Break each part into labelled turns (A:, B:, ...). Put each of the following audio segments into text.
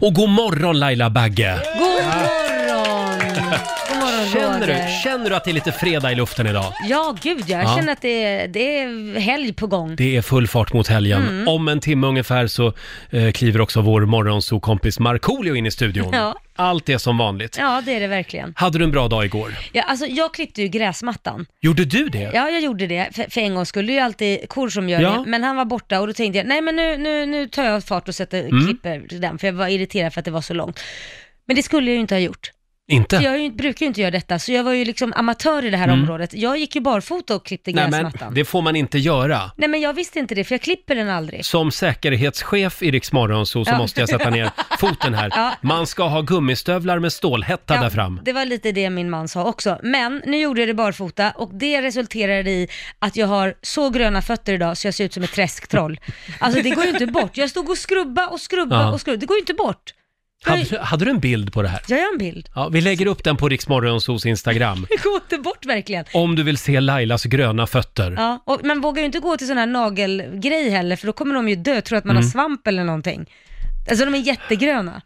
A: Och god morgon Laila Bagge!
B: God morgon! God morgon
A: Känner du,
B: Roger.
A: känner du att det är lite fredag i luften idag?
B: Ja, gud jag
A: Ja.
B: känner att det är, det är helg på gång.
A: Det är full fart mot helgen.
B: Mm.
A: Om en timme ungefär så eh, kliver också vår morgonsokompis Markoolio in i studion.
B: Ja.
A: Allt är som vanligt.
B: Ja, det är det verkligen.
A: Hade du en bra dag igår?
B: Ja, alltså, jag klippte ju gräsmattan.
A: Gjorde du det?
B: Ja, jag gjorde det. För, för en gång skulle ju alltid Kor som gör
A: Ja.
B: det, men han var borta och då tänkte jag, nej men nu, nu, nu tar jag fart och sätter,
A: Mm.
B: klipper den, för jag var irriterad för att det var så långt. Men det skulle jag ju inte ha gjort.
A: Inte?
B: För jag är ju, brukar ju inte göra detta, så jag var ju liksom amatör i det här
A: Mm.
B: området. Jag gick ju barfota och klippte
A: Nej,
B: gräsmattan.
A: men det får man inte göra.
B: Nej men jag visste inte det, för jag klipper den aldrig.
A: Som säkerhetschef i Rix Morgonzoo så
B: Ja.
A: måste jag sätta ner foten här.
B: Ja.
A: Man ska ha gummistövlar med stålhätta
B: Ja,
A: där fram.
B: Det var lite det min man sa också. Men nu gjorde jag det barfota och det resulterade i att jag har så gröna fötter idag så jag ser ut som ett träsktroll. Alltså det går ju inte bort. Jag stod och skrubba och skrubba
A: Ja.
B: och skrubba. Det går ju inte bort.
A: Hade, du- hade du en bild på det här?
B: Jag gör en bild.
A: Ja, vi lägger upp den på Rix Morgonzoos Instagram.
B: Det går inte bort verkligen.
A: Om du vill se Lailas gröna fötter.
B: Ja, och man vågar ju inte gå till sån här nagelgrej heller för då kommer de ju dö, tror att man
A: Mm.
B: har svamp eller någonting. Alltså de är jättegröna.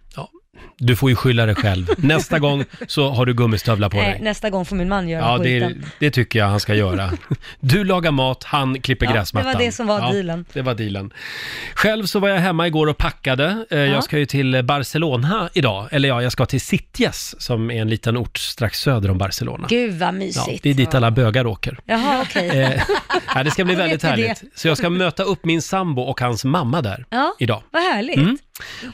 A: Du får ju skylla dig själv. Nästa gång så har du gummistövlar på
B: Nej,
A: dig.
B: nästa gång får min man göra
A: Ja, det,
B: skiten.
A: det tycker jag han ska göra. Du lagar mat, han klipper
B: Ja, det var
A: gräsmattan.
B: det som var dealen.
A: Det var dealen. Själv så var jag hemma igår och packade. Eh,
B: Ja.
A: Jag ska ju till Barcelona idag. Eller ja, jag ska till Sitges som är en liten ort strax söder om Barcelona.
B: Gud vad
A: Ja,
B: mysigt.
A: det är dit alla bögar åker.
B: Jaha, okej.
A: Eh, ja, det ska bli
B: Då vet
A: väldigt
B: vi det.
A: härligt. Så jag ska möta upp min sambo och hans mamma där
B: Ja,
A: idag.
B: vad härligt.
A: Mm.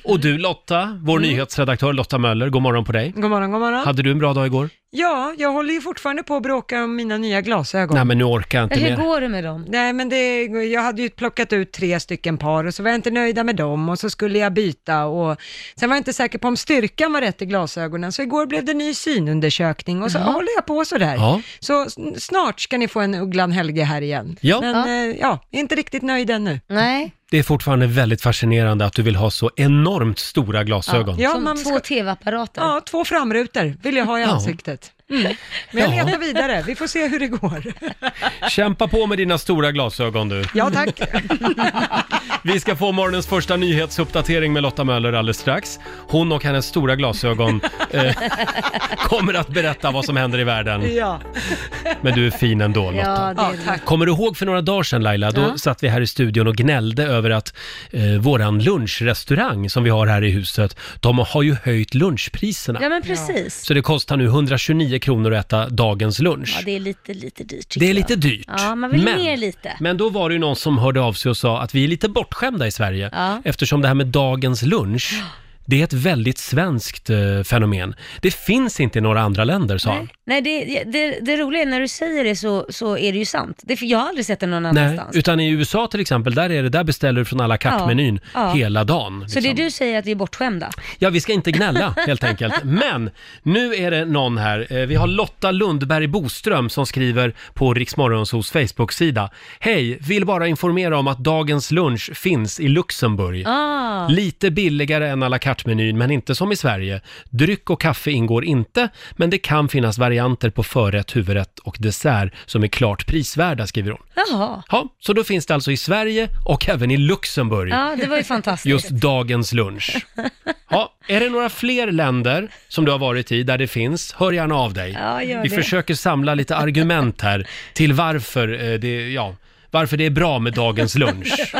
A: Och du Lotta, vår
C: Mm.
A: nyhetsredaktör Lotta Möller, god morgon på dig.
C: God morgon, god morgon.
A: Hade du en bra dag igår?
C: Ja, jag håller ju fortfarande på att bråka om mina nya glasögon.
A: Nej men nu orkar jag inte mer.
B: går det med dem?
C: Nej, men det, jag hade ju plockat ut tre stycken par och så var jag inte nöjda med dem och så skulle jag byta och sen var jag inte säker på om styrkan var rätt i glasögonen så igår blev det ny synundersökning och så
B: Jaha.
C: håller jag på sådär.
A: Ja.
C: Så sn- snart ska ni få en Ugglan Helge här igen.
A: Ja.
C: Men
B: Ja.
C: eh, ja, inte riktigt nöjd ännu.
B: Nej.
A: Det är fortfarande väldigt fascinerande att du vill ha så enormt stora glasögon.
C: Ja,
B: Som
C: man
B: två
C: ska-
B: tv-apparater.
C: Ja, två framrutor vill jag ha i
A: Ja.
C: ansiktet. Mm. Men jag
A: Ja.
C: letar vidare, vi får se hur det går.
A: Kämpa på med dina stora glasögon du.
C: Ja, tack.
A: Vi ska få morgonens första nyhetsuppdatering med Lotta Möller alldeles strax. Hon och hennes stora glasögon eh, kommer att berätta vad som händer i världen.
C: Ja.
A: Men du är fin ändå Lotta.
B: Ja, det
C: Ja,
B: är det.
C: tack.
A: Kommer du ihåg för några dagar sedan Laila, då
B: Ja.
A: satt vi här i studion och gnällde över att eh, våran lunchrestaurang som vi har här i huset, de har ju höjt lunchpriserna.
B: Ja, men precis.
A: Så det kostar nu 129 kronor att äta dagens lunch.
B: Ja, det är lite, lite dyrt tycker
A: det är
B: jag.
A: lite dyrt.
B: Ja, man vill
A: men,
B: ner lite.
A: men då var det ju någon som hörde av sig och sa att vi är lite bortskämda i Sverige
B: Ja.
A: eftersom det här med dagens lunch, det är ett väldigt svenskt eh, fenomen. Det finns inte i några andra länder, sa han.
B: Nej, det, det, det roliga är när du säger det så, så är det ju sant. Det, jag har aldrig sett det någon
A: Nej,
B: annanstans.
A: utan i USA till exempel, där, är det, där beställer du från alla kattmenyn
B: Ja, ja.
A: hela dagen.
B: så
A: liksom.
B: det du säger är att vi är bortskämda?
A: Ja, vi ska inte gnälla helt enkelt. Men nu är det någon här. Eh, Vi har Lotta Lundberg Boström som skriver på Riksmorgonsos Facebook-sida. Hej, vill bara informera om att dagens lunch finns i Luxemburg.
B: Ah,
A: Lite billigare än à la carte-menyn, men inte som i Sverige. Dryck och kaffe ingår inte, men det kan finnas varianter på förrätt, huvudrätt och dessert som är klart prisvärda, skriver hon.
B: jaha.
A: Ja, så då finns det alltså i Sverige och även i Luxemburg
B: Ja, det var ju fantastiskt.
A: just dagens lunch. Ja, är det några fler länder som du har varit i där det finns, hör gärna av dig.
B: Ja, gör
A: Vi
B: det.
A: försöker samla lite argument här till varför, eh, det, ja, varför det är bra med dagens lunch.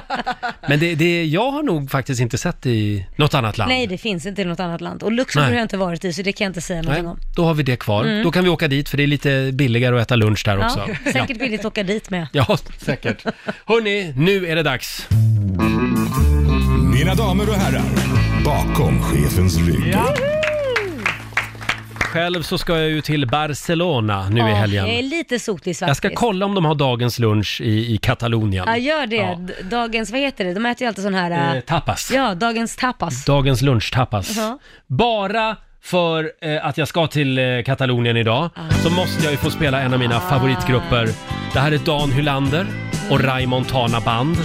A: Men det, det, jag har nog faktiskt inte sett i något annat land.
B: Nej, det finns inte i något annat land. Och Luxemburg
A: Nej.
B: har jag inte varit i, så det kan jag inte säga någonting om.
A: då har vi det kvar. Då kan vi åka dit för det är lite billigare att äta lunch där också.
B: Ja, säkert billigt att åka dit med.
A: Ja, säkert. Hörni, nu är det dags.
D: Mina damer och herrar, bakom chefens rygg.
A: Själv så ska jag ju till Barcelona nu i
B: Ja,
A: helgen.
B: Jag är lite sotis faktiskt.
A: Jag ska kolla om de har dagens lunch i, i Katalonien.
B: Ja, gör det.
A: Ja.
B: D- Dagens, vad heter det? De äter ju alltid sån här...
A: Eh,
B: äh,
A: tapas.
B: Ja, dagens tapas.
A: Dagens lunchtapas.
B: Ja.
A: Bara för eh, att jag ska till eh, Katalonien idag
B: Ah.
A: så måste jag ju få spela en av mina favoritgrupper. Det här är Dan Hylander och Ray Montana Band.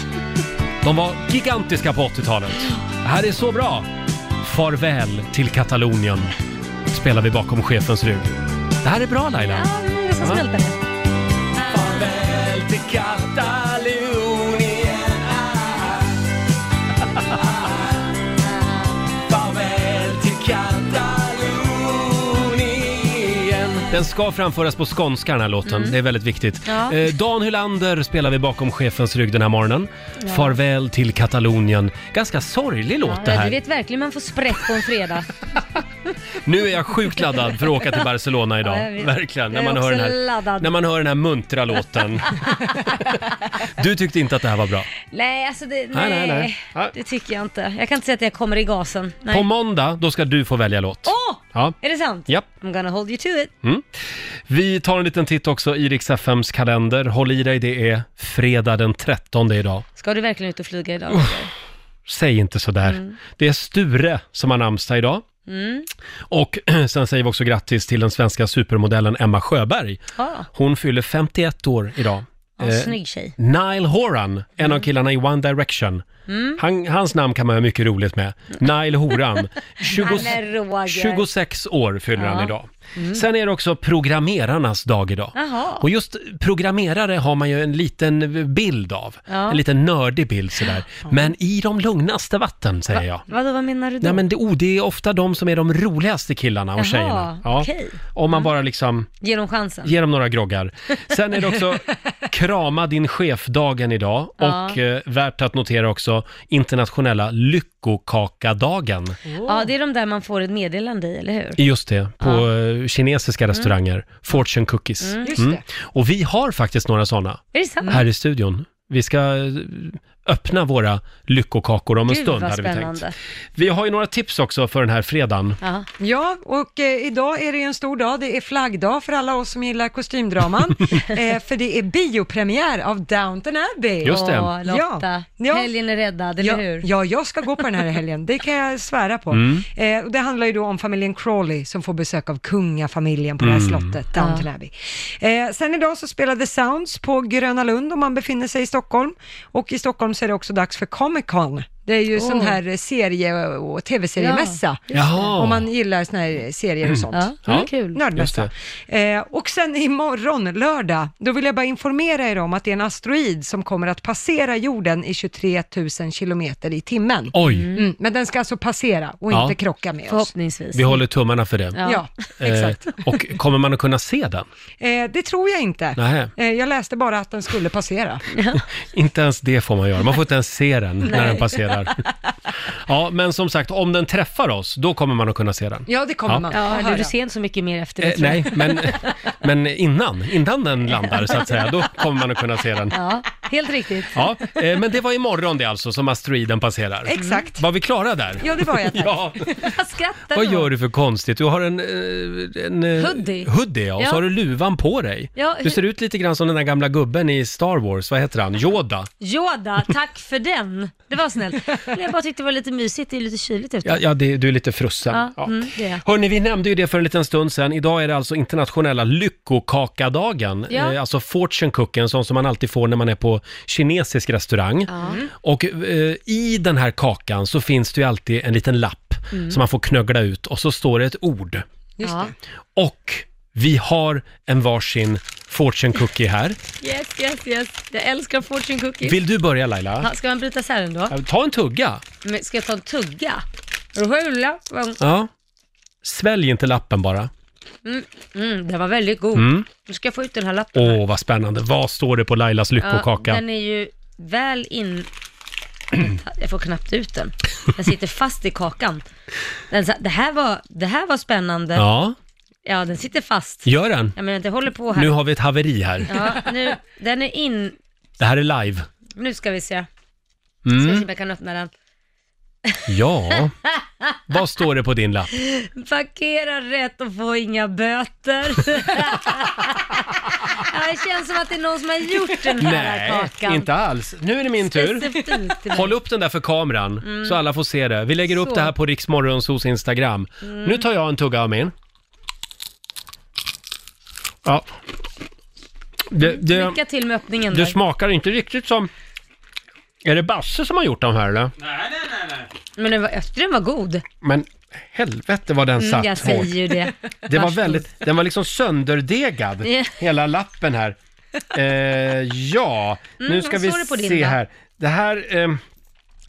A: De var gigantiska på 80-talet. Det här är så bra! Farväl till Katalonien spelar vi bakom chefens rygg. Det här är bra Laila.
B: Ja, det är ganska
A: Ja.
B: snällt där.
A: Farväl till Katalonien Farväl
E: Katalonien
A: Den ska framföras på skånska den här låten, det är väldigt viktigt.
B: Ja.
A: Eh, Dan Hylander spelar vi bakom chefens rygg den här morgonen. Farväl till Katalonien. Ganska sorglig låt det
B: Ja, du
A: här.
B: vet verkligen man får sprätt på en fredag.
A: Nu är jag sjukt laddad för att åka till Barcelona idag.
B: Ja, jag vet.
A: Verkligen, när
B: Jag är
A: man, hör den
B: också
A: här,
B: laddad.
A: när man hör den här muntra låten. Du tyckte inte att det här var bra.
B: Nej, alltså det,
A: Nej,
B: nej,
A: nej, nej. Nej.
B: det tycker jag inte. Jag kan inte säga att jag kommer i gasen. Nej.
A: På måndag, då ska du få välja låt.
B: Åh!
A: Ja.
B: Är det sant?
A: Japp.
B: I'm gonna hold you to it.
A: Vi tar en liten titt också i Rix FMs kalender. Håll i dig, det är fredag den 13 idag.
B: Ska du verkligen ut och flyga idag?
A: Säg inte sådär.
B: Mm.
A: Det är Sture som har namnsdag idag. Och sen säger vi också grattis till den svenska supermodellen Emma Sjöberg.
B: Ja,
A: Hon fyller 51 år idag.
B: en
A: Eh,
B: snygg tjej.
A: Nile Horan, en av killarna i One Direction.
B: Mm.
A: Han, hans namn kan man ha mycket roligt med. Nile Horan. 20,
B: Han är Roger.
A: 26 år fyller han
B: Ja. Mm.
A: idag. Sen är det också programmerarnas dag idag.
B: Jaha.
A: Och just programmerare har man ju en liten bild av.
B: Ja.
A: En liten nördig bild sådär. Men i de lugnaste vatten, säger jag.
B: Vadå, vad menar du då?
A: Nej men det, oh, det är ofta de som är de roligaste killarna och
B: Jaha,
A: tjejerna.
B: okej. Mm.
A: Om man bara liksom
B: Ge dem chansen.
A: ger dem några groggar. Sen är det också krama din chef-dagen idag
B: Ja.
A: och eh, värt att notera också internationella lyckokakadagen.
B: Ja, det är de där man får ett meddelande i, eller hur?
A: Just det, på eh,
B: Mm.
A: kinesiska restauranger. Fortune cookies.
C: Just det.
A: Och vi har faktiskt några sådana
B: Är det sant?
A: här i studion. Vi ska eh, öppna våra lyckokakor om en
B: Gud,
A: stund
B: vad
A: hade vi tänkt.
B: spännande.
A: Vi har ju några tips också för den här fredagen.
B: Ja.
C: Ja, och eh, idag är det ju en stor dag. Det är flaggdag för alla oss som gillar kostymdraman. eh, för det är biopremiär av Downton Abbey.
A: Just det.
B: Åh, Lotta.
C: Ja. Ja.
B: Helgen är räddad, eller
C: Ja,
B: hur?
C: ja, jag ska gå på den här helgen, det kan jag svära på. Eh, och det handlar ju då om familjen Crawley som får besök av kungafamiljen på det här slottet, Downton Abbey. Eh, sen idag så spelar The Sounds på Gröna Lund om man befinner sig i Stockholm. Och i Stockholm så är det också dags för Comic Con. Det är ju sån här eh, serie och tv-seriemässa.
A: Jaha.
C: Om man gillar såna här serier och sånt.
B: Ja,
A: Ja.
B: ja. kul.
C: Nördmässa. Eh, och sen imorgon, lördag, då vill jag bara informera er om att det är en asteroid som kommer att passera jorden i 23 000 kilometer i timmen.
A: Oj,
C: Mm, men den ska alltså passera och
A: Ja.
C: inte krocka med oss.
B: Förhoppningsvis.
A: vi håller tummarna för det.
B: Ja.
C: Ja, exakt.
A: Eh, och kommer man att kunna se den?
C: Eh, det tror jag inte.
A: Nähä.
C: Eh, jag läste bara att den skulle passera.
A: Inte ens det får man göra. Man får inte ens se den när den passerar. Ja, men som sagt, om den träffar oss, då kommer man att kunna se den.
C: Ja, det kommer
A: Ja.
C: man
B: Ja,
C: att
B: hörru,
C: höra.
B: du ser inte så mycket mer efter det.
A: Eh,
B: tror jag.
A: nej, men, men innan, innan den landar så att säga, då kommer man att kunna se den.
B: Ja, helt riktigt.
A: Ja, eh, men det var imorgon det alltså som asteroiden passerar.
C: Exakt.
A: Var vi klara där?
C: Ja, det var jag. tack.
A: Mm. Ja,
B: Vad skrattar
A: vad
B: du
A: gör
B: åt?
A: du för konstigt? Du har en, eh, en eh,
B: Hoodie.
A: hoodie ja, och så
B: Ja.
A: har du luvan på dig.
B: Ja,
A: Du
B: hur-
A: ser ut lite grann som den där gamla gubben i Star Wars, vad heter han? Yoda.
B: Yoda, tack för den. Det var snällt. Men Jag bara tyckte det var lite mysigt, det är lite kyligt ute.
A: Ja, ja det, du är lite frusen.
B: Ja,
A: Ja.
B: mm, det är jag.
A: Hörni, vi nämnde ju det för en liten stund sedan. Idag är det alltså internationella lyckokakadagen.
B: Ja.
A: Eh, alltså fortune cookie, en sån som man alltid får när man är på kinesisk restaurang. Och eh, i den här kakan så finns det ju alltid en liten lapp
B: Mm.
A: som man får knöggla ut och så står det ett ord.
C: Just
B: Ja.
C: det.
A: Och vi har en varsin fortune cookie här.
B: Yes, yes, yes. Jag älskar fortune cookies.
A: Vill du börja Laila?
B: Ja, Ska man bryta isär den då?
A: Ja, Ta en tugga.
B: Men Ska jag ta en tugga? Rulla.
A: Ja. Svälj inte lappen bara.
B: Mm, den var väldigt god. Nu ska jag få ut den här lappen.
A: Åh,
B: här.
A: vad spännande. Vad står det på Lailas lyckokaka?
B: den är ju väl in... Jag får knappt ut den. Den sitter fast i kakan. Den, sa- det, här var, det här var spännande. Ja,
A: Ja,
B: den sitter fast.
A: gör den.
B: Jag menar, det håller på här.
A: Nu har vi ett haveri här.
B: Ja, nu, den är in...
A: Det här är live.
B: Nu ska vi se. Ska vi se
A: Mm.
B: om jag kan öppna den.
A: Ja. Vad står det på din lapp?
B: Parkera rätt och få inga böter. ja, det känns som att det är någon som har gjort den här kakan.
A: alls. Nu är det min
B: Specifikt till mig.
A: Håll upp den där för kameran så alla får se det. Vi lägger upp
B: Så. Mm.
A: det här på Riksmorgonsos Instagram. Nu tar jag en tugga av min. Ja. Det, det,
B: Lycka till med öppningen
A: det
B: där.
A: smakar inte riktigt som... Är det Basse som har gjort de här eller?
E: Nej, nej, nej, nej.
B: Men den var, jag tyckte den var god.
A: Men helvete vad den satt
B: Mm, jag säger
A: hårt.
B: ju det.
A: Det var
B: Varsågod.
A: väldigt, den var liksom sönderdegad,
B: Ja.
A: hela lappen här. Eh, ja, nu
B: Mm,
A: ska
B: vad
A: vi
B: står det på din
A: se
B: då?
A: här. Det här, ehm,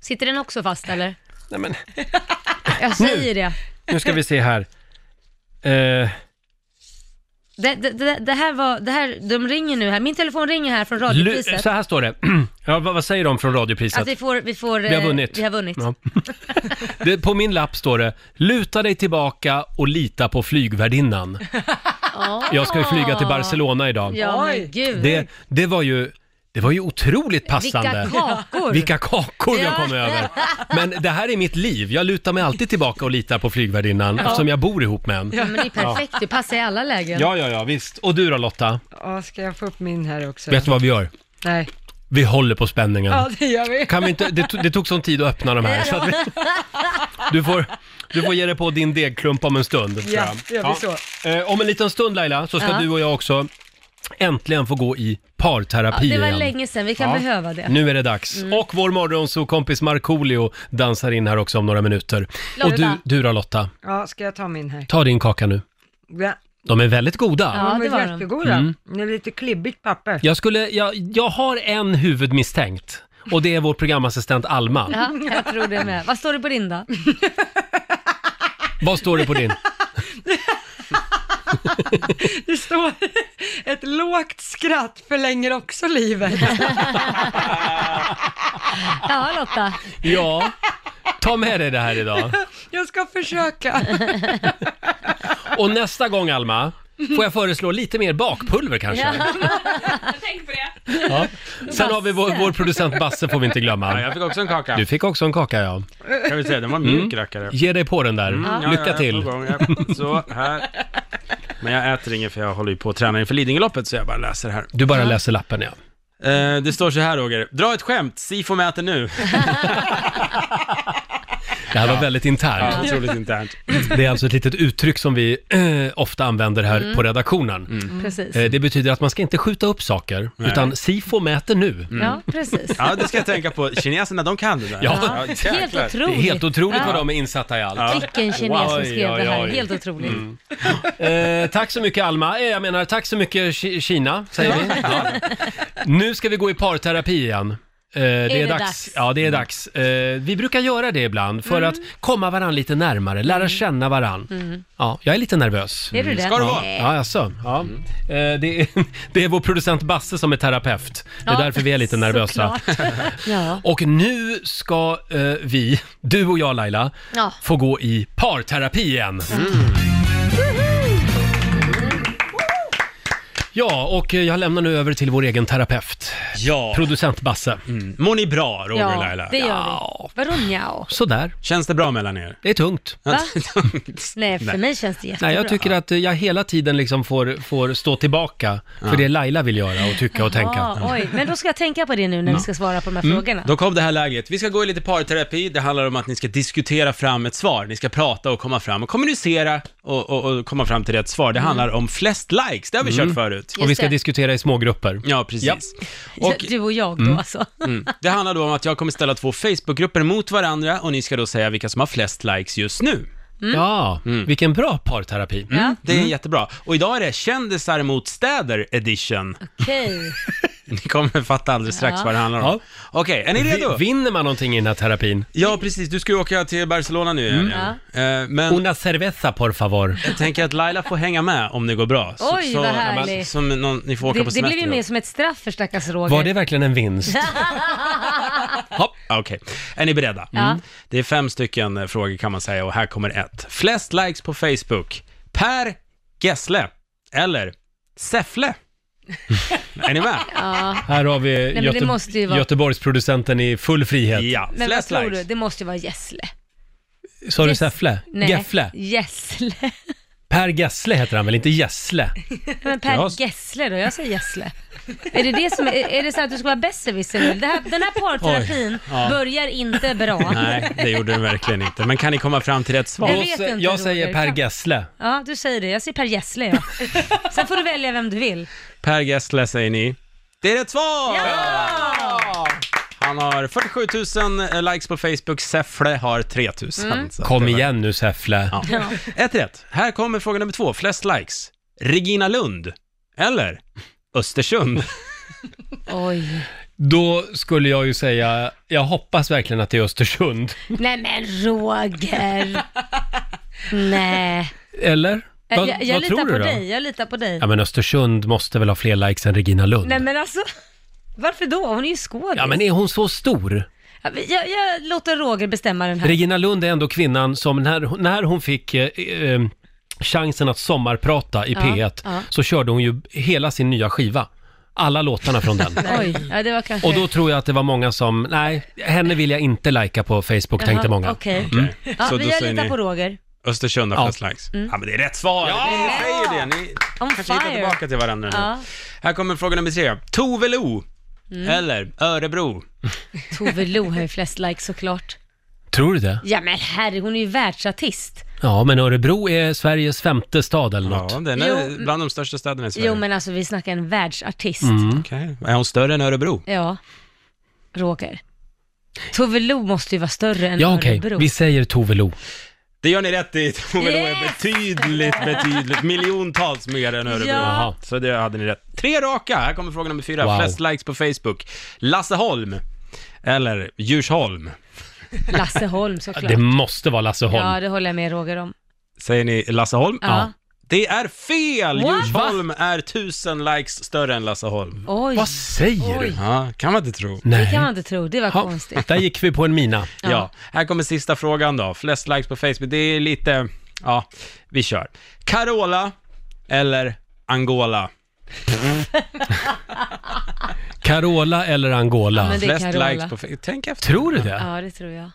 B: Sitter den också fast eller?
A: nej men,
B: Jag säger det.
A: nu ska vi se här. Eh,
B: Det, det, det, det här var, det här, de ringer nu här. Min telefon ringer här från
A: lu-
B: radiopriset.
A: så här står det. ja, vad, vad säger de från radiopriset?
B: Att vi får, vi får...
A: Vi har
B: eh,
A: vunnit.
B: Vi har vunnit.
A: Ja. Det, på min lapp står det, luta dig tillbaka och lita på flygvärdinnan.
B: Ah.
A: Jag ska ju flyga till Barcelona idag.
B: Ja,
C: Oj.
B: men gud.
A: Det, det, var ju, det var ju otroligt
B: Vilka
A: passande.
B: kakor.
A: Vilka kakor jag
B: Ja.
A: kom över. Men det här är mitt liv. Jag lutar mig alltid tillbaka och litar på flygvärdinnan eftersom jag bor ihop med en.
B: Ja, men det är perfekt, det passar i alla lägen.
A: Ja, ja, ja, visst. Och du då Lotta?
C: Ja, ska jag få upp min här också?
A: Vet du vad vi gör?
C: Nej.
A: Vi håller på spänningen.
C: Ja, det gör vi.
A: Kan vi inte, det, to- det tog sån tid att öppna de här. Så att vi, du, får, du får ge dig på din degklump om en stund. tror
C: Ja,
A: jag.
C: gör vi
A: Eh, om en liten stund Laila, så ska
B: Ja.
A: du och jag också äntligen få gå i parterapi
B: det var
A: igen.
B: länge sedan, vi kan
A: Ja.
B: behöva det. Mm.
A: Nu är det dags. Och vår morgonsokompis Markoolio dansar in här också om några minuter.
B: Lotta.
A: Och du, du då Lotta,
C: Ja, ska jag ta min här?
A: ta din kaka nu.
C: Ja,
A: De är väldigt goda.
B: Ja,
C: de
B: det var
C: är
B: de.
C: jättegoda.
A: Mm.
C: Det är lite klibbigt papper.
A: Jag, skulle, jag, jag har en huvudmisstänkt och det är vår programassistent Alma.
B: Ja, jag tror det med. Vad står det på din då?
A: Vad står det på din?
C: Det står ett lågt skratt förlänger också livet.
B: Ja, Lotta.
A: Ja, ta med dig det här idag.
C: Jag ska försöka.
A: Och nästa gång Alma, får jag föreslå lite mer bakpulver kanske?
B: Ja.
A: Ja. Sen har vi vår, vår producent Basse får vi inte
E: Ja,
A: glömma.
E: jag fick också en kaka.
A: Du fick också en kaka ja.
E: Kan vi säga, den var mjuk rackare.
A: Ge dig på den där.
E: Mm. Ja, ja,
A: Lycka
E: ja,
A: till.
E: på gång, ja. Så, här. Men jag äter inget för jag håller ju på att träna inför Lidingöloppet, så jag bara läser här.
A: Du bara läser lappen ja.
E: Eh, det står så här, Roger. Dra ett skämt, Sifo mäter nu.
A: Det här var väldigt internt.
E: Ja, otroligt internt.
A: Det är alltså ett litet uttryck som vi eh, ofta använder här på redaktionen.
B: Precis.
A: Eh, det betyder att man ska inte skjuta upp saker, utan SIFO mäter nu.
B: Ja, precis.
E: Ja, det ska jag tänka på. Kineserna, de kan det där.
A: Ja.
B: Helt
E: jäklar.
A: Det är
B: otroligt.
A: helt otroligt vad de är insatta i allt.
B: Vilken kines som skrev
A: Oj,
B: det
A: oj,
B: här,
A: Mm. oj.
B: helt otroligt.
A: Eh, tack så mycket Alma, eh, jag menar tack så mycket Ki- Kina, säger vi. Ja. Nu ska vi gå i parterapi igen. Eh, det är,
B: det
A: dags.
B: dags?
A: Ja, det är dags. Eh, vi brukar göra det ibland för att komma varandra lite närmare, lära känna varandra. Ja, jag är lite nervös.
B: Är du det?
E: Ska det vara?
B: Nej.
A: Ja, jaså? Ja. Eh, det, är, det är vår producent Basse som är terapeut. Det är
B: Ja,
A: därför vi är lite nervösa.
B: såklart. Ja.
A: Och nu ska eh, vi, du och jag Laila,
B: Ja.
A: få gå i parterapi igen.
B: Mm.
A: Ja, och eh, jag lämnar nu över till vår egen terapeut,
E: Ja.
A: producent Basse.
E: Mår ni bra, Roger och
B: ja,
E: Laila?
B: det gör
A: Ja.
B: vi. Vadå njao?
A: Sådär,
E: Känns det bra mellan er?
A: det är tungt.
B: Va? Nej, för mig känns det jättebra.
A: Nej, jag tycker att eh, jag hela tiden liksom får, får stå tillbaka för det Laila vill göra och tycka och tänka. Mm.
B: Ja, oj, men då ska jag tänka på det nu när vi ska svara på de här frågorna.
E: Då kom det här läget. Vi ska gå i lite parterapi. Det handlar om att ni ska diskutera fram ett svar. Ni ska prata och komma fram och kommunicera och, och, och komma fram till rätt svar. Det handlar om flest likes. Det har vi kört förut.
A: Och vi ska
B: det.
A: diskutera i smågrupper.
E: Ja, precis. Och
B: Du och jag då alltså.
E: mm, det handlar då om att jag kommer ställa två Facebookgrupper mot varandra och ni ska då säga vilka som har flest likes just nu.
B: Mm.
A: Ja,
E: Mm.
A: vilken bra parterapi.
B: Ja,
E: Det är jättebra. Och idag är det kändisar mot städer edition.
B: okej.
E: Ni kommer fatta alldeles strax
B: Ja.
E: vad det handlar om.
A: Ja.
E: Okej, är ni redo?
A: Vi- Vinner man någonting i den här terapin?
E: Ja, precis. Du ska ju åka till Barcelona nu. Adrian. Eh, Men...
A: Una cerveza por favor.
E: Jag tänker att Laila får hänga med om det går bra.
B: Oj, vad härligt.
E: Som någon, ni får åka
B: Det,
E: på
B: det
E: semester.
B: blev ju mer som ett straff för stackars Roger.
A: Var det verkligen en vinst?
E: Hopp, okej. Är ni beredda? Mm.
B: Ja.
E: Det är fem stycken eh, frågor kan man säga och här kommer ett. Flest likes på Facebook? Per Gessle eller Säffle? är ni med?
A: Här har vi
B: men det
A: Göte-
B: måste ju vara-
A: Göteborgsproducenten i full frihet.
E: Ja,
B: Men vad
E: flest
B: tror du?
E: likes.
B: Det måste ju vara Gessle.
A: Sa du
B: Yes.
A: Säffle? Gäffle?
B: Gessle.
A: Per Gessle heter han väl, inte Gessle?
B: Men Per
A: Ja.
B: Gessle då? Jag säger Gessle. är det det som är, är det så att du ska vara besserwisser nu? Det här, den här parterapin börjar inte bra.
E: Nej, det gjorde den verkligen inte. Men kan ni komma fram till rätt svar?
B: Jag vet
A: sä-
B: inte,
A: jag
B: Roger.
A: säger Per Gessle.
B: Ja, du säger det. Jag säger Per Gessle, ja. Sen får du välja vem du vill.
E: Per Gessle säger ni. Det är rätt svar! Han har 47 000 likes på Facebook, Säffle har 3 000.
B: Mm.
E: Så att det
A: Kom
E: var-
A: igen nu Säffle.
E: Ja. Ett rätt. Här kommer fråga nummer två. Flest likes. Regina Lund eller Östersund?
B: Oj.
A: Då skulle jag ju säga, jag hoppas verkligen att det är Östersund.
B: Nej men Roger! Nej.
A: Eller?
B: Jag,
A: Vad-
B: Äh, jag,
A: vad
B: litar
A: tror
B: på
A: du då?
B: dig, jag litar på dig.
A: Ja men Östersund måste väl ha fler likes än Regina Lund?
B: Nej men alltså, varför då? Hon är ju skådis.
A: Ja men är hon så stor?
B: Ja, men jag, jag låter Roger bestämma den här.
A: Regina Lund är ändå kvinnan som när, när hon fick eh, eh, chansen att sommarprata i
B: Ja,
A: P1
B: ja.
A: så körde hon ju hela sin nya skiva. Alla låtarna från den.
B: Oj, ja, det var kanske...
A: Och då tror jag att det var många som, nej, henne vill jag inte lajka på Facebook, tänkte
B: Jaha,
A: många. Mm.
B: Okej.
E: Så
B: Ja,
E: då
B: vi jag
E: säger
B: litar
E: ni-
B: på Roger.
E: Östersund har
A: Ja.
E: flest likes. Ja, men det är rätt svar! Ja! Ni säger det, ni
B: On
E: kanske hittar
B: fire.
E: tillbaka till varandra nu.
B: Ja. Mm.
E: Här kommer fråga nummer tre. Tove Lo eller Örebro?
B: Tove Lo har ju flest likes såklart.
A: Tror du det?
B: Ja men herre, hon är ju världsartist.
A: Ja, men Örebro är Sveriges femte stad eller något.
E: Ja, den är
B: Jo, mm.
E: bland de största städerna i Sverige.
B: Jo men alltså vi snackar en världsartist.
A: Mm.
E: Okej. Är hon större än Örebro?
B: Ja, Roger. Tove Lo måste ju vara större än
A: Ja, okej,
B: Örebro.
A: vi säger Tove Lo.
E: Det gör ni rätt i. Tove Lo är
B: Yes!
E: betydligt, betydligt, miljontals mer än Örebro.
B: Ja.
E: Jaha, Så det hade ni rätt. Tre raka. Här kommer fråga nummer fyra.
A: Wow.
E: Flest likes på Facebook. Lasse Holm eller Djursholm?
B: Lasse Holm såklart.
A: Det måste vara Lasse Holm.
B: Ja, det håller jag med Roger om.
E: Säger ni Lasse Holm?
B: Ja.
E: Det är fel!
B: What?
E: Djursholm är tusen likes större än Lasse Holm.
B: Oj,
A: Vad säger du?
B: Oj.
E: Ja, kan man inte tro.
B: det
A: Nej.
B: kan man inte tro. Det var
A: Ja,
B: konstigt.
A: där gick vi på en mina.
E: Ja. här kommer sista frågan då. Flest likes på Facebook, det är lite, ja, vi kör. Carola eller Angola?
A: Carola eller Angola?
B: men det- är
E: Flest
B: Carola.
E: likes på Facebook, tänk efter.
A: Tror du det?
B: Ja, det tror jag.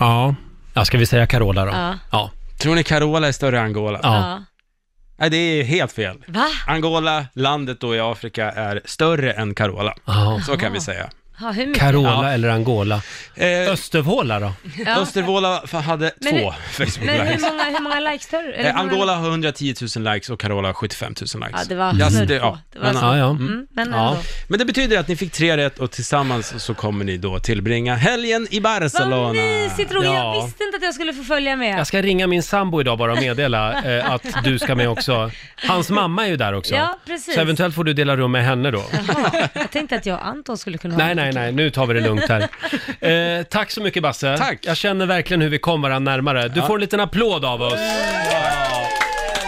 A: Ja. Ja, ska vi säga Carola då?
B: Ja.
A: Ja.
E: Tror ni Carola är större än Angola?
A: Ja.
B: Ja.
E: Nej, det är helt fel.
B: Va?
E: Angola, landet då i Afrika, är större än Carola.
A: Ja.
E: Så kan vi säga.
B: Ja, hur mycket?
A: Carola
E: Ja.
A: eller Angola?
E: Eh,
A: Östervåla då?
B: Ja.
E: Östervåla fa- hade
B: Men
E: två
B: Men
E: Facebook-likes.
B: hur många, hur många likes tar du? Eller
E: Eh,
B: hur många-
E: Angola har 110 000 likes och Carola har 75 000 likes.
B: Ja, det var
E: Just
B: snurr
E: det,
B: på.
E: ja.
B: Det
E: Men,
B: var så.
A: Ja, ja.
B: Mm, men
A: Ja.
B: ändå.
E: Men det betyder att ni fick tre rätt och tillsammans så kommer ni då tillbringa helgen i
B: Vad
E: Barcelona.
B: mysigt Roger, jag
A: Ja.
B: visste inte att jag skulle få följa med.
A: Jag ska ringa min sambo idag bara och meddela eh, att du ska med också. Hans mamma är ju där också.
B: Ja, precis.
A: Så eventuellt får du dela rum med henne då.
B: Jaha, jag tänkte att jag och Anton skulle kunna ha
A: Nej,
B: en
A: nej, nej, nu tar vi det lugnt här. Eh, tack så mycket Basse.
E: Tack.
A: Jag känner verkligen hur vi kom varandra närmare. Du får en liten applåd av oss.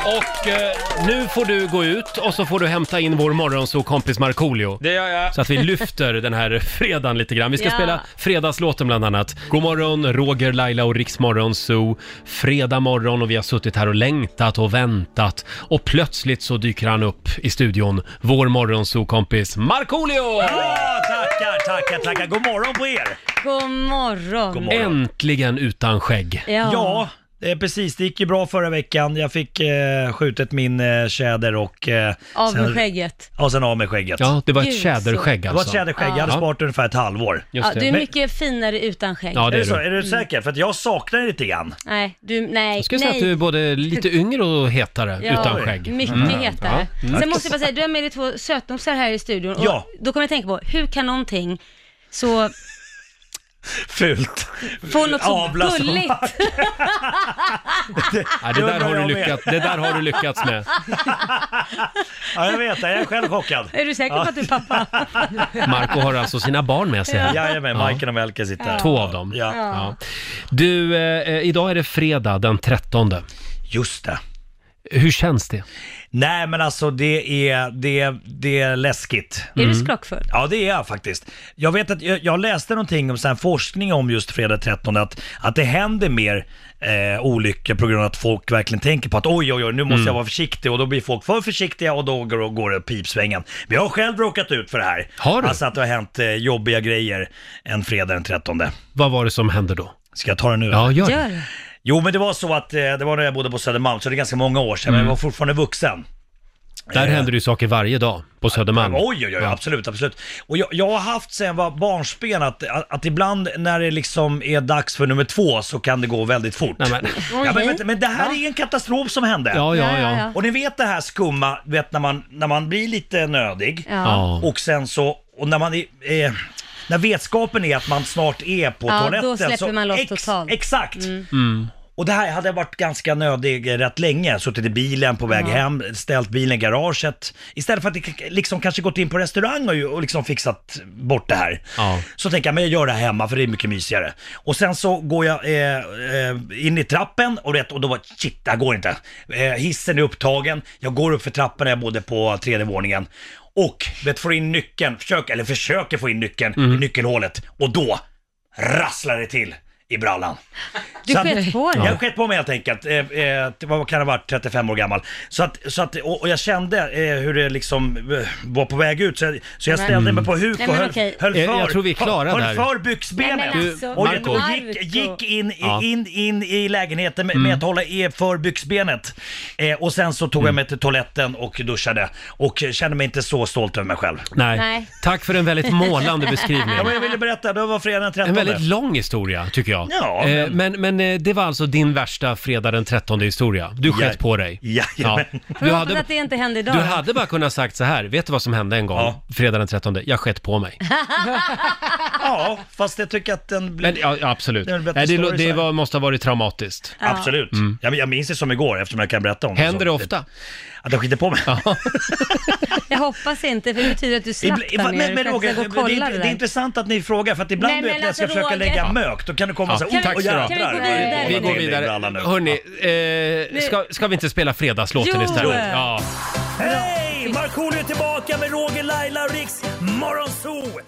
A: Och eh, nu får du gå ut och så får du hämta in vår morgonsåkompis Markoolio.
E: Det gör jag.
A: Så att vi lyfter den här fredagen lite grann. Vi ska
B: Ja.
A: spela fredagslåten bland annat. God morgon, Roger, Laila och Riksmorgon Zoo. Fredag morgon och vi har suttit här och längtat och väntat. Och plötsligt så dyker han upp i studion, vår morgonzoo-kompis Markoolio!
F: Ja, tackar, tackar, tackar. God morgon på er.
B: God morgon.
F: God morgon.
A: Äntligen utan skägg.
B: Ja.
F: Ja, det är precis. Det gick ju bra förra veckan. Jag fick eh, skjutit min eh, tjäder och... Eh,
B: Av med
F: sen-
B: skägget.
F: Ja, sen av med skägget.
A: Ja, det var ett
B: Gud,
A: tjäderskägg
F: det var ett
A: alltså.
F: tjäderskägg. Jag hade
A: Ja.
F: sparat ungefär ett halvår.
A: Just
B: Ja,
A: det.
B: du är
A: Men-
B: mycket finare utan skägg.
A: Ja, det
F: är,
A: är
F: det så?
A: du.
F: Är du säker? För att jag saknar det lite grann.
B: Nej, du, nej,
A: Jag skulle
B: nej.
A: säga att du är både lite yngre och hetare
B: Ja,
A: utan skägg. Mm.
B: Mycket hetare. Sen måste jag bara säga, du har med dig två sötnosar här i studion. Och
F: Ja.
B: Då kommer jag tänka på, hur kan någonting så
F: Fult.
B: få något så
F: Avla som-
B: gulligt?
A: Ja, det, där
F: undrar
A: har du
F: jag med.
A: lyckats, det där har du lyckats med.
F: Ja, jag vet. Jag är själv chockad.
B: Är du säker på att du är pappa?
A: Marco har alltså sina barn med sig här.
F: Jajamän, Majken och Melke sitter här.
A: Två av dem.
F: Ja.
A: Ja. Du, eh, idag är det fredag den 13.
F: Just det.
A: Hur känns det?
F: Nej, men alltså det är, det, det är läskigt.
B: Är du skrockfull?
F: Ja, det är jag faktiskt. Jag vet att jag, jag läste någonting om sån här forskning om just fredag 13 att, att det händer mer eh, olyckor på grund av att folk verkligen tänker på att oj, oj, oj, nu måste
A: Mm.
F: jag vara försiktig och då blir folk för försiktiga och då går, går det pipsvängen. Men jag har själv råkat ut för det här.
A: Har du?
F: Alltså att det har hänt eh, jobbiga grejer en fredag den 13.
A: Vad var det som hände då?
F: Ska jag ta det nu?
A: Ja, gör det.
B: Gör det.
F: Jo, men det var så att eh, det var när jag bodde på Södermalm, så det är ganska många år sedan,
A: Mm.
F: men jag var fortfarande vuxen.
A: Där händer det ju saker varje dag på Södermalm.
F: Oj, oj, oj, absolut, absolut. Och jag, jag har haft sen jag var barnsben att, att, att ibland när det liksom är dags för nummer två så kan det gå väldigt fort.
A: Nej, men,
F: ja, men, vänta, men det här är en katastrof som hände.
A: ja, ja,
B: Ja,
A: ja.
B: ja,
F: Och ni vet det här skumma, vet när man, när man blir lite nödig
B: Ja.
A: ja.
F: och sen så, och när man är, eh, när vetskapen är att man snart är på
B: Ja, då
F: toaletten.
B: släpper
F: så
B: man loss totalt. Mm.
F: Exakt! Och det här hade jag varit ganska nödig rätt länge, suttit i bilen på väg hem, ställt bilen i garaget. Istället för att det- liksom kanske gått in på restaurang och, ju- och liksom fixat bort det här.
A: Ja.
F: Så tänker jag, men jag gör det här hemma för det är mycket mysigare. Och sen så går jag eh, eh, in i trappen och, vet, och då bara shit, det här går inte. Eh, hissen är upptagen, jag går upp för trappen när jag bodde på tredje våningen. Och vet, får in nyckeln, försök, eller försöker få in nyckeln i nyckelhålet. Och då rasslar det till i brallan.
B: Du
F: Så att-
B: sket på dig.
F: Jag har skett på mig helt enkelt. Eh, eh, det var- vad kan det ha varit, 35 år gammal. Så att, så att, och, och jag kände eh, hur det liksom eh, var på väg ut. Så jag, så jag
B: Nej.
F: ställde mig på huk
B: Nej,
F: och
B: men
F: höll,
B: okej.
F: höll för,
A: Jag- jag tror vi är klara
F: höll
A: där.
F: för byxbenet.
B: Nej, men alltså,
F: och jag,
A: Marco.
F: och gick, gick in, i-
A: Ja. Mm.
F: in, in i lägenheten med, med att hålla e för byxbenet. Eh, och sen så tog jag mig till toaletten och duschade. Och kände mig inte så stolt över mig själv.
A: Nej.
B: Nej.
A: Tack för en väldigt målande beskrivning.
F: Ja, men jag ville berätta, det var fredag den 13.
A: En väldigt lång historia, tycker jag.
F: Ja,
A: Eh, men... men eh, det var alltså din värsta fredag den 13 historia. Du sket
F: Ja-
A: på dig.
F: Jajamän.
A: Du
B: Jag hoppas
A: hade,
B: att det inte händer idag.
A: du hade bara kunnat sagt så här, vet du vad som hände en gång?
F: Ja.
A: Fredag den 13, jag sket på mig.
F: Ja, fast jag tycker att den blev...
A: Men ja, ja, absolut.
F: Det är
A: Det,
F: en bättre
A: Nej, det,
F: story
A: lo-
F: så
A: det
F: här.
A: var, måste ha varit traumatiskt.
F: Absolut. Jag, jag minns det som igår eftersom jag kan berätta om
A: Mm. Händer det
F: Så-
A: ofta?
F: Att jag skiter på mig.
B: Jag hoppas inte, för det betyder att du
F: Ibla-
B: slapp
F: ibla-
B: där nere.
F: men men
B: för att
F: Roger,
B: jag ska
F: det,
B: gå och kolla
F: det,
B: det
F: det är
B: där.
F: intressant att ni frågar för att ibland
B: Nej,
F: du vet
B: men
F: när jag ska
B: alltså,
F: försöka
B: Roger.
F: lägga mök, då kan du komma
A: Ja.
F: och säga
A: Kan
F: oh,
A: vi- kan vi
F: jädrar,
B: gå
F: vad är det
B: vidare?
F: dåligt
A: Vi
B: var
A: går
F: till i brallan
A: vidare.
F: nu?
A: Hörni, eh, ska, ska vi inte spela fredagslåten
B: Jo.
A: istället? Ja.
F: Hej! Markoolio är tillbaka med Roger, Laila och Riks Morgonzoo!